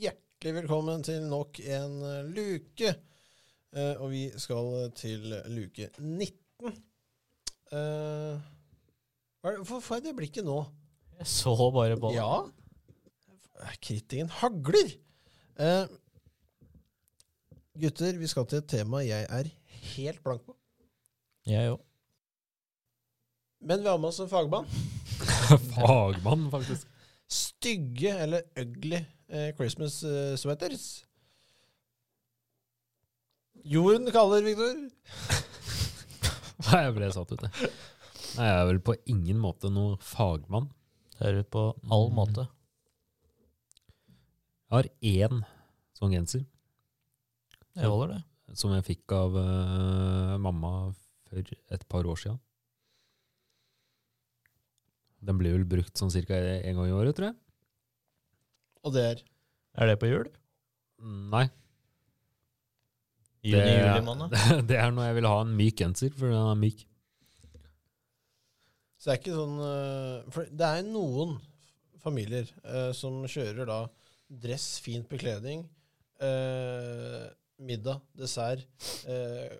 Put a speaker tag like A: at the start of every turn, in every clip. A: Hjertelig velkommen til nok en eh, luke. Eh, og vi skal eh, til luke 19. Eh, hva er det- Hvorfor får jeg det blikket nå?
B: Jeg så bare på det.
A: Ja. Eh, Kritikken hagler. Eh, gutter, vi skal til et tema jeg er helt blank på.
B: Jeg òg.
A: Men vi har med oss en fagmann.
C: Fagmann, faktisk.
A: Stygge eller ugly eh, Christmas eh, sweaters. Jorden kaller, Viktor.
C: Nei, jeg ble satt ut, jeg. Nei, jeg er vel på ingen måte noe fagmann.
B: Det er ut på all
C: Mm.
B: måte.
C: Jeg har én sånn genser
B: Det holder, det.
C: som jeg fikk av eh, mamma for et par år siden. Den blir vel brukt sånn cirka en gang i året, tror jeg.
A: Og det er
B: Er det på jul?
C: Nei,
B: Juni,
C: Det-
B: juli måned?
C: det er når jeg vil ha en myk genser, for den er myk.
A: Så det er ikke sånn øh, For det er noen familier øh, som kjører da dress, fint bekledning, øh, middag, dessert, øh,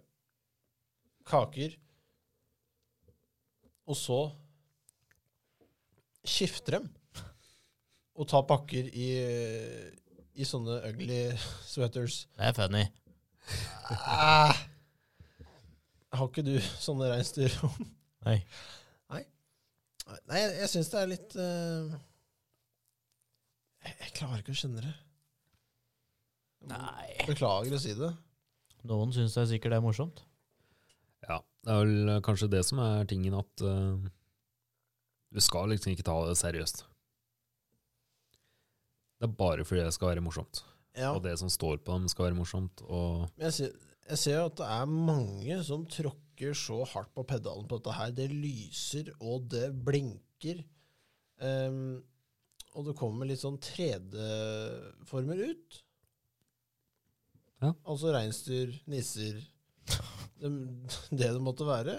A: kaker Og så skifter dem og tar pakker i, i sånne ugly sweaters.
B: Det er funny.
A: Ah! Har ikke du sånne reinsdyr?
B: Nei.
A: Nei, jeg, jeg syns det er litt eh, jeg, jeg klarer ikke å skjønne det. Jeg må-
B: Nei.
A: Beklager å si det.
B: Noen syns det er sikkert det er morsomt.
C: Ja, det er vel eh, kanskje det som er tingen at eh, du skal liksom ikke ta det seriøst. Det er bare fordi det skal være morsomt.
A: Ja,
C: Og det som står på dem skal være morsomt. Og
A: men jeg ser, jeg ser jo at det er mange som tråkker så hardt på pedalen på dette her. Det lyser, og det blinker. Ehm, og det kommer litt sånn 3D-former ut.
C: Ja.
A: Altså reinsdyr, nisser, det, det det måtte være.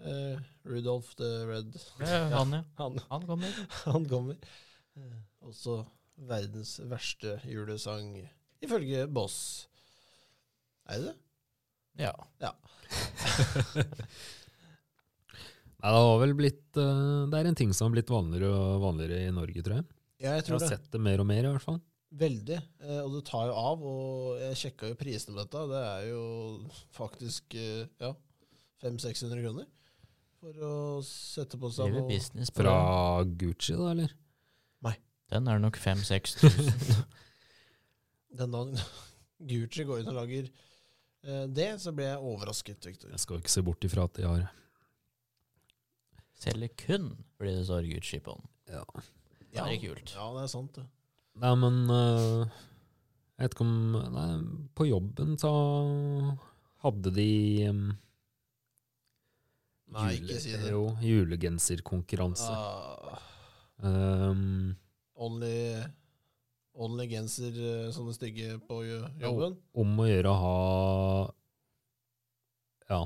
A: Eh, Rudolf the Red
B: Det er han, ja.
A: Han
B: Han kommer.
A: Han kommer. Eh, Også verdens verste julesang, ifølge Boss. Er det det?
B: Ja.
C: Nei, det har vel blitt eh, Det er en ting som har blitt vanligere og vanligere i Norge, tror jeg.
A: Ja, jeg
C: Jeg
A: tror
C: har
A: det.
C: sett det mer og mer, i hvert fall.
A: Veldig. Eh, Og det tar jo av. Og jeg sjekka jo prisene på dette. Det er jo faktisk eh, ja, 500-600 kroner for å sette på seg
B: Driver
A: noe.
B: business på
C: Fra
B: den.
C: Gucci, da, eller?
B: Den er nok 5000-6000.
A: Den dagen Gucci går ut og lager eh, det, så ble jeg overrasket, Victor.
C: Jeg skal jo ikke se bort ifra at de har
B: Selger kun fordi det står Gucci på den.
C: ja.
B: Det er kult.
A: Ja, det er sant, det.
C: Nei, men eh, Jeg vet ikke om Nei, på jobben så hadde de em,
A: Nei,
C: jule-
A: ikke si det.
C: Jo, julegenserkonkurranse. Ehm,
A: Ah.
C: Em,
A: Only, only genser, eh, sånne stygge på jo- jobben.
C: om å gjøre å ha ja,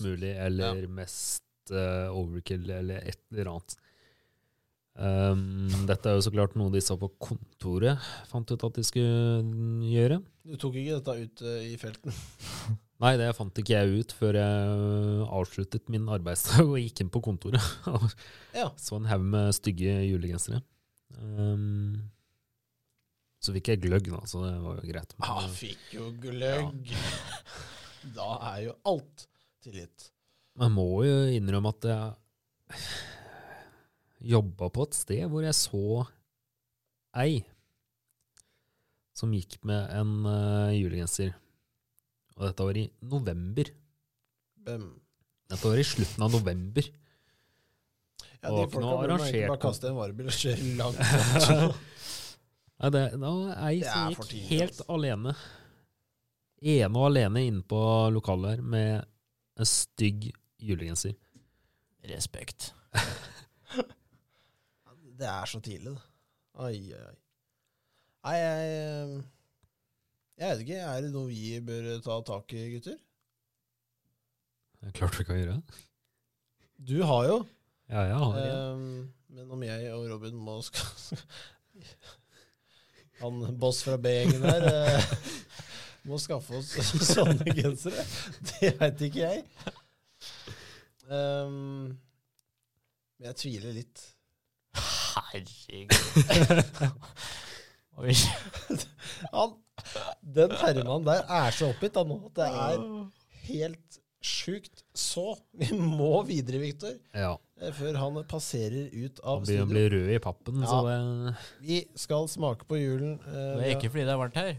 A: Styggest.
C: mulig, eller mest eh, overkill, eller et eller annet. Ehm, dette er jo så klart noe de sa på kontoret, fant ut at de skulle gjøre.
A: Du tok ikke dette ut eh, i felten.
C: Nei, det fant ikke jeg ut før jeg avsluttet min arbeidsdag og gikk inn på kontoret. og
A: Ja.
C: Så en haug med stygge julegensere. Ehm, så fikk jeg gløgg, da, så det var jo greit. Men,
A: Ah, fikk jo gløgg. Da er jo alt tilgitt.
C: Man må jo innrømme at jeg jobba på et sted hvor jeg så ei som gikk med en eh, julegenser. Og dette var i november.
A: Bem.
C: Dette var i slutten av november.
A: Ja,
C: Og
A: de
C: ikke
A: folka
C: noe
A: burde man egentlig
C: arrangert.
A: bare kaste i en varebil og kjøre langt.
C: Nei, det, det var ei
A: Det
C: som
A: er
C: gikk
A: for tidlig,
C: helt
A: altså.
C: alene. Ene og alene inne på lokalet her med en stygg julegenser.
B: Respekt.
A: det er så tidlig, det. Ai, ai, ai. Nei, jeg eh, Jeg vet ikke. Er det noe vi bør ta tak i, gutter?
C: Det er klart vi kan gjøre det.
A: Du har jo
C: Ja,
A: Eh,
C: ja, har det.
A: Ehm, men om jeg og Robin må skal han boss fra B-gjengen der eh, må skaffe oss sånne gensere. Det veit ikke jeg. Ehm, Men jeg tviler litt.
B: Herregud. Oi.
A: Han, den herremannen der er så oppgitt han nå at det er helt sjukt. Så vi må videre, Viktor,
C: Ja.
A: før han passerer ut
C: Han
A: av
C: begynner å
A: studio.
C: bli rød i pappen, så det
A: Vi skal smake på julen. eh,
B: Det er ikke fordi det er varmt her.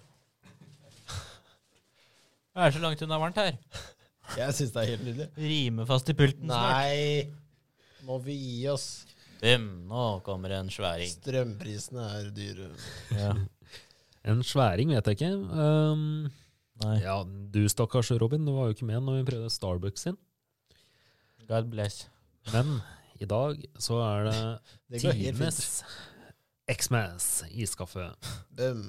B: Det er så langt unna varmt her.
A: Jeg syns det er helt nydelig.
B: Rimer fast i pulten snart.
A: Nei, må vi gi oss.
B: Bim, nå kommer en sværing.
A: Strømprisene er dyre.
B: Ja.
C: En sværing vet jeg ikke. Um,
B: Nei.
C: ja, du stakkars Robin, du var jo ikke med når vi prøvde Starbucks sin.
B: God bless.
C: Men i dag så er det
A: Det går helt
C: times
A: fint.
C: Xmas iskaffe.
A: Bøm.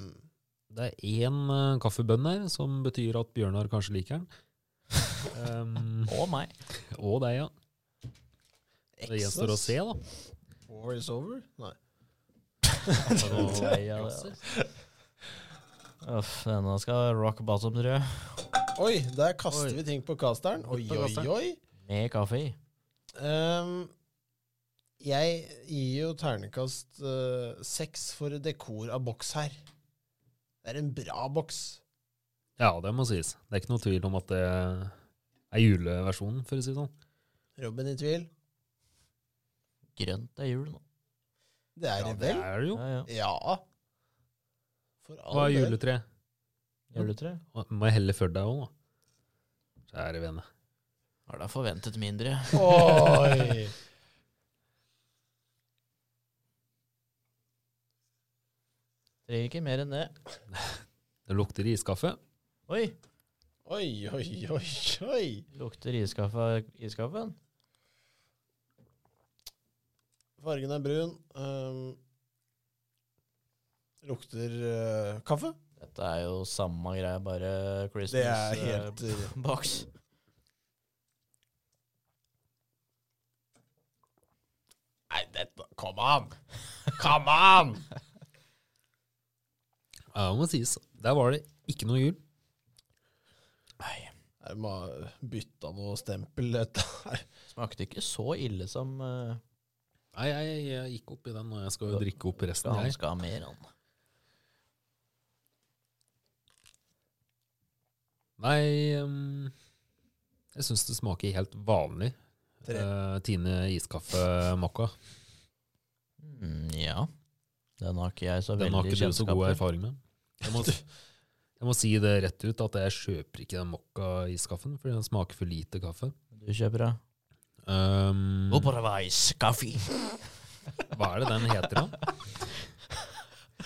C: Det er én eh, kaffebønn her, som betyr at Bjørnar kanskje liker den. Um,
B: Og meg.
C: og deg, ja. Det gjenstår å se, da.
A: War is over? Nei.
B: Og meg, ja, det, altså. Uff, denne skal rock bottom, tror jeg.
A: Oi, der kaster
B: Oi.
A: vi ting på casteren. Oi,
C: på
A: oi,
C: casteren.
A: oi.
B: Med kaffe i.
A: Ehm, jeg gir jo ternekast eh, seks for dekor av boks her. Det er en bra boks.
C: Ja, det må sies. Det er ikke noe tvil om at det er juleversjonen, for å si det sånn.
A: Robin i tvil.
B: Grønt er jul nå.
A: Det er
C: Ja,
A: det
C: det
A: vel?
C: er det jo.
B: Ja, ja.
A: Ja. For all
C: Hva er
A: del.
C: juletre?
B: Juletre.
C: Å, Må jeg helle for deg òg, da? Kjære vene.
B: Har da forventet mindre.
A: Oi!
B: Trenger ikke mer enn det.
C: Det lukter iskaffe.
B: Oi,
A: Oi, oi, oi, oi.
B: lukter iskaffe av iskaffen?
A: Fargen er brun. ehm, lukter eh, kaffe.
B: Dette er jo samme greie, bare Christmas
A: Det er helt
B: eh,
A: eh,
B: box.
A: Nei, dette Come on! Come on!
C: Ja, det må sies. Der var det ikke noe jul.
B: Nei,
A: Jeg må ha bytta noe stempel. Dette. her.
B: smakte ikke så ille som eh,
C: Nei, jeg, jeg gikk opp i den, og jeg skal jo drikke opp resten
B: han
C: her.
B: skal ha mer han.
C: Nei, ehm, jeg syns det smaker helt vanlig.
A: Tre.
C: eh, Tine iskaffe-makka.
B: Mm, ja. Den har ikke jeg så
C: Den har
B: veldig
C: ikke du så
B: kjennskap
C: god
B: til.
C: erfaring med. Jeg må, jeg må si det rett ut, at jeg kjøper ikke den mokka-iskaffen, fordi den smaker for lite kaffe.
B: Du kjøper da? Mm.
C: Ehm,
B: Operavais kaffe.
C: hva er det den heter, da?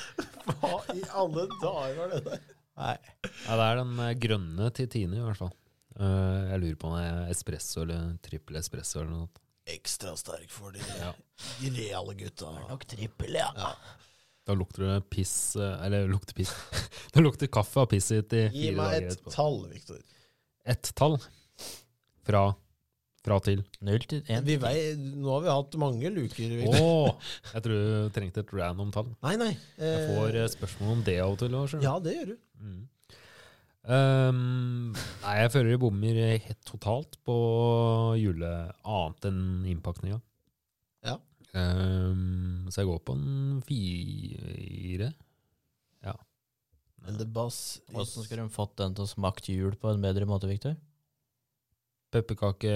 A: Hva i alle dager var det der?
B: Nei.
C: Ja, det er den eh, grønne til Tine, i hvert fall. Eh, jeg lurer på om det er espresso eller trippel espresso eller noe. sånt.
A: Ekstra sterk for de
C: Ja.
A: reale gutta.
B: Nok trippel, ja.
C: Da lukter det piss eh, Eller lukter piss. det lukter kaffe av pisset ditt i
A: Gi
C: fire
A: meg
C: dager
A: et
C: etterpå.
A: tall, Viktor.
C: Ett tall. Fra, fra til.
B: Null til én.
A: Vi vei- Nå har vi hatt mange luker.
C: Å!
A: Victor.
C: jeg tror du trengte et random tall.
A: Nei, nei.
C: Jeg
A: eh,
C: får eh, spørsmål om det av og til. også, skjønner du.
A: Ja, det gjør du.
C: Mm. Um, nei, jeg føler det bommer eh, helt totalt på jule annet enn innpakninga.
A: Ja.
C: Um, så jeg går på en fire. Ja.
A: Men det bass
B: Hvordan skulle hun fått den til å smake jul på en bedre måte, Victor?
C: Pepperkake,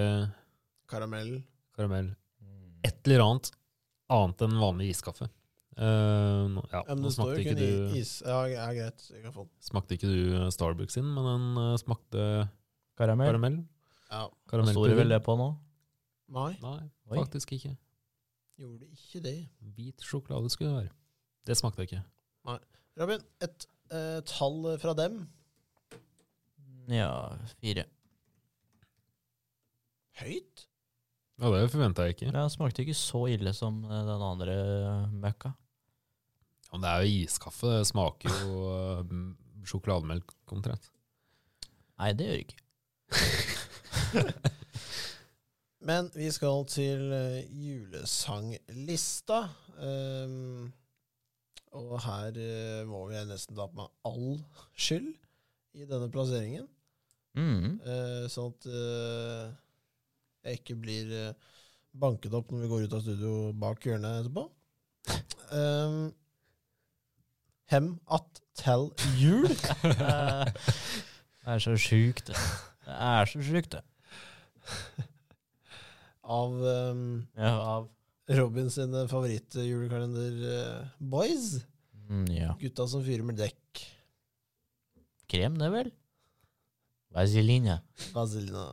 A: Karamell.
C: karamell
B: Mm.
C: Et eller annet annet enn vanlig iskaffe. Um, ja,
A: Ja, men
C: nå
A: det står
C: smakte
A: jo
C: ikke,
A: kun i-
C: du,
A: is. Ja, ja, greit. Jeg kan få den.
C: smakte ikke du eh, Starbucks sin, men den eh, smakte
B: Karamell?
C: karamell.
A: Ja.
B: Hva
C: Karamell
B: står det vel det på nå?
A: Nei,
C: Nei,
B: Oi.
C: faktisk ikke.
A: gjorde ikke det.
C: Hvit sjokolade skulle det være. Det smakte ikke.
A: Robin, et eh, tall fra dem.
B: Ja, fire.
A: Høyt?
C: Ja, det forventa jeg ikke.
B: Ja, smakte ikke så ille som eh, den andre eh, møkka.
C: Ja, men det er jo iskaffe. Det smaker jo eh, sjokolademelk omtrent.
B: Nei, det gjør ikke.
A: Men vi skal til eh, julesanglista. Ehm, Og her eh, må jeg nesten ta på meg all skyld i denne plasseringen.
B: Mm.
A: Eh, sånn at eh, jeg ikke blir eh, banket opp når vi går ut av studio bak hjørnet etterpå. Um, hem at tell jul.
B: det er så sjukt, det. Det er så sjukt, det.
A: av um,
B: Ja, av
A: Robin sine favorittjulekalender-boys.
B: mm, ja.
A: Gutta som fyrer med dekk.
B: Krem, det vel? Vaseline.
A: Vazelina.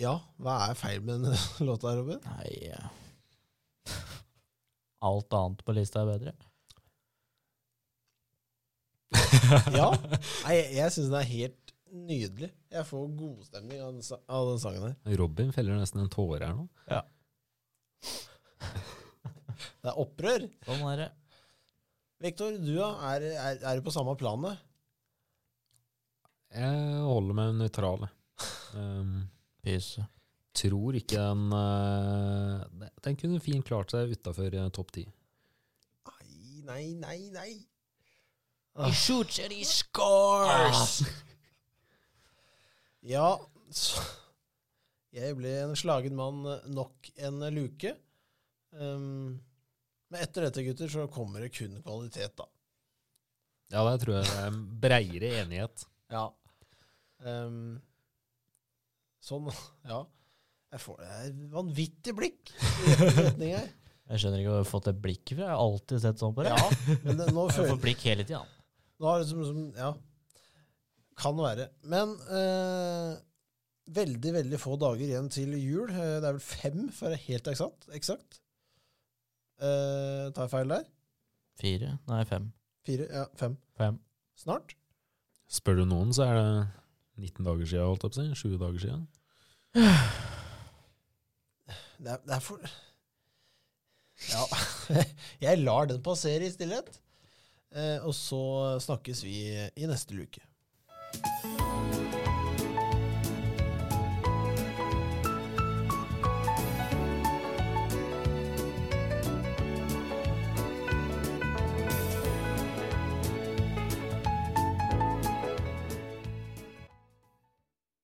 A: Ja, hva er feil med denne låta, Robin?
B: Nei ja. Alt annet på lista er bedre.
A: Ja, Nei, jeg, jeg syns den er helt nydelig. Jeg får godstemning av den, sa- av den sangen her.
C: Robin feller nesten en tåre her nå.
A: Det er opprør!
B: Sånn er det.
A: Vektor, du da? Er, er, er du på samme planet?
C: Jeg holder meg nøytral. jeg. Um,
B: Pyse.
C: tror ikke den eh, ne- Den kunne fint klart seg utafor eh, topp ti.
A: Nei, nei, nei, nei.
B: He shoots and he scores!
A: Ja, så Jeg ble en slagen mann nok en luke. Um, men etter dette, gutter, så kommer det kun kvalitet, da.
C: Ja, der tror jeg det er breiere enighet.
A: Ja. Ehm, sånn, ja. Jeg får det er et vanvittig blikk i retning her.
B: Jeg skjønner ikke hvor jeg har fått det blikket fra. Jeg har alltid sett sånn på det.
A: Ja, men det, nå
B: Jeg
A: føler
B: får blikk hele tida.
A: nå har det som, som, Ja. Kan være. Men eh, veldig, veldig få dager igjen til jul. Eh, Det er vel fem, for å være helt eksakt. eksakt. Eh, tar jeg feil der?
B: Fire? Nei, fem.
A: Fire? Ja, fem.
B: Fem.
A: Snart?
C: Spør du noen, så er det 19 dager siden, holdt jeg på å si. 20 dager siden.
A: Det er, det er for Ja. Jeg lar den passere i stillhet. Eh, og så snakkes vi i neste luke.